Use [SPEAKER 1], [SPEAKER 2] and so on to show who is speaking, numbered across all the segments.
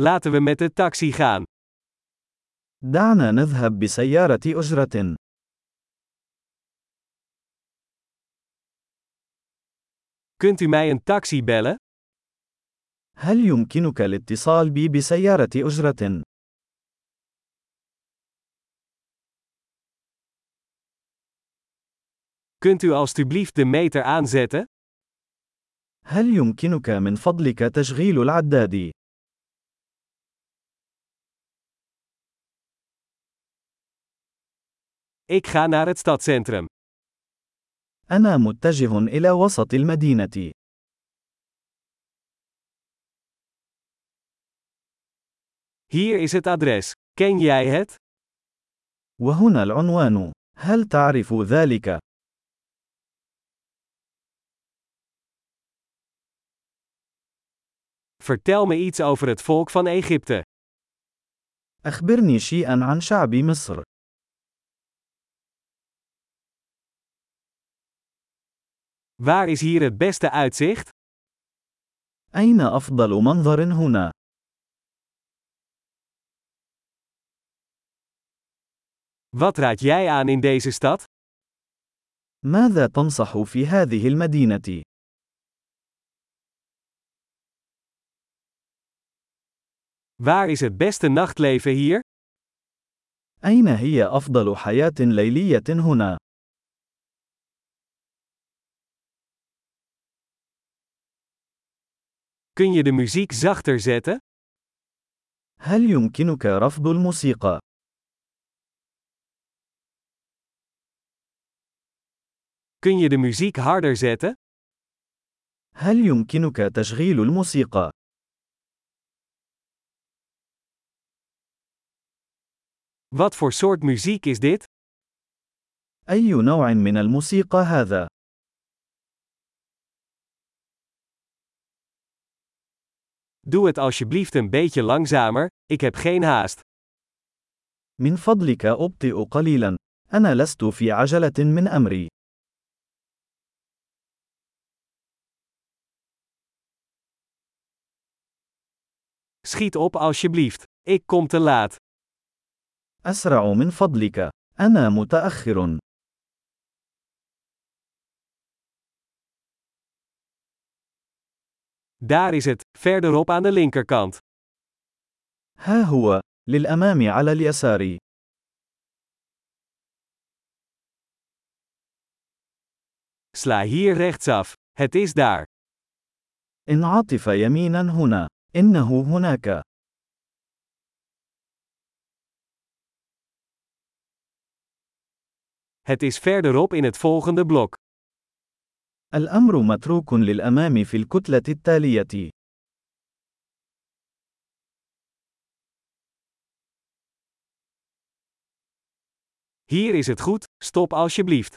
[SPEAKER 1] Laten we met de taxi gaan.
[SPEAKER 2] دعنا نذهب بسيارة أجرة.
[SPEAKER 1] Kunt u mij een taxi bellen?
[SPEAKER 2] هل يمكنك الاتصال بي بسيارة أجرة؟
[SPEAKER 1] Kunt u alstublieft de meter aanzetten?
[SPEAKER 2] هل يمكنك من فضلك تشغيل العداد؟
[SPEAKER 1] Ik ga naar het stadcentrum.
[SPEAKER 2] أنا متجه إلى وسط المدينة.
[SPEAKER 1] Hier is het adres. Ken jij het?
[SPEAKER 2] وهنا العنوان. هل تعرف ذلك؟
[SPEAKER 1] Vertel me iets over het volk van Egypte.
[SPEAKER 2] أخبرني شيئا عن شعب مصر.
[SPEAKER 1] Waar is hier het beste uitzicht?
[SPEAKER 2] أين أفضل منظر هنا؟
[SPEAKER 1] Wat raad jij aan in deze stad?
[SPEAKER 2] ماذا تنصح في هذه المدينة؟
[SPEAKER 1] Waar is het beste nachtleven hier?
[SPEAKER 2] أين هي أفضل حياة ليلية هنا؟
[SPEAKER 1] Kun je de muziek zachter zetten?
[SPEAKER 2] هل يمكنك رفض الموسيقى؟
[SPEAKER 1] Kun je de muziek harder zetten?
[SPEAKER 2] هل يمكنك تشغيل الموسيقى؟
[SPEAKER 1] Wat voor soort muziek is dit?
[SPEAKER 2] أي نوع من الموسيقى هذا؟
[SPEAKER 1] Doe het alsjeblieft een beetje langzamer, ik heb geen haast.
[SPEAKER 2] من فضلك أبطئ قليلا. أنا لست في عجلة من أمري.
[SPEAKER 1] Schiet op alsjeblieft, ik kom te laat.
[SPEAKER 2] أسرع من فضلك. أنا متأخر.
[SPEAKER 1] Daar is het, verderop aan de linkerkant.
[SPEAKER 2] ها هو. للأمام على اليسار.
[SPEAKER 1] Sla hier rechtsaf, het is daar.
[SPEAKER 2] انعطف يمينا هنا. إنه هناك.
[SPEAKER 1] Het is verderop in het volgende blok.
[SPEAKER 2] الأمر متروك للأمام في الكتلة التالية.
[SPEAKER 1] Hier is het goed, stop alsjeblieft.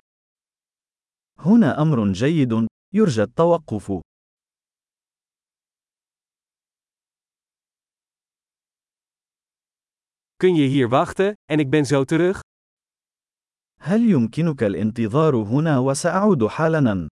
[SPEAKER 2] هنا أمر جيد. يرجى التوقف.
[SPEAKER 1] Kun je hier wachten, en ik ben zo terug?
[SPEAKER 2] هل يمكنك الانتظار هنا وسأعود حالاً؟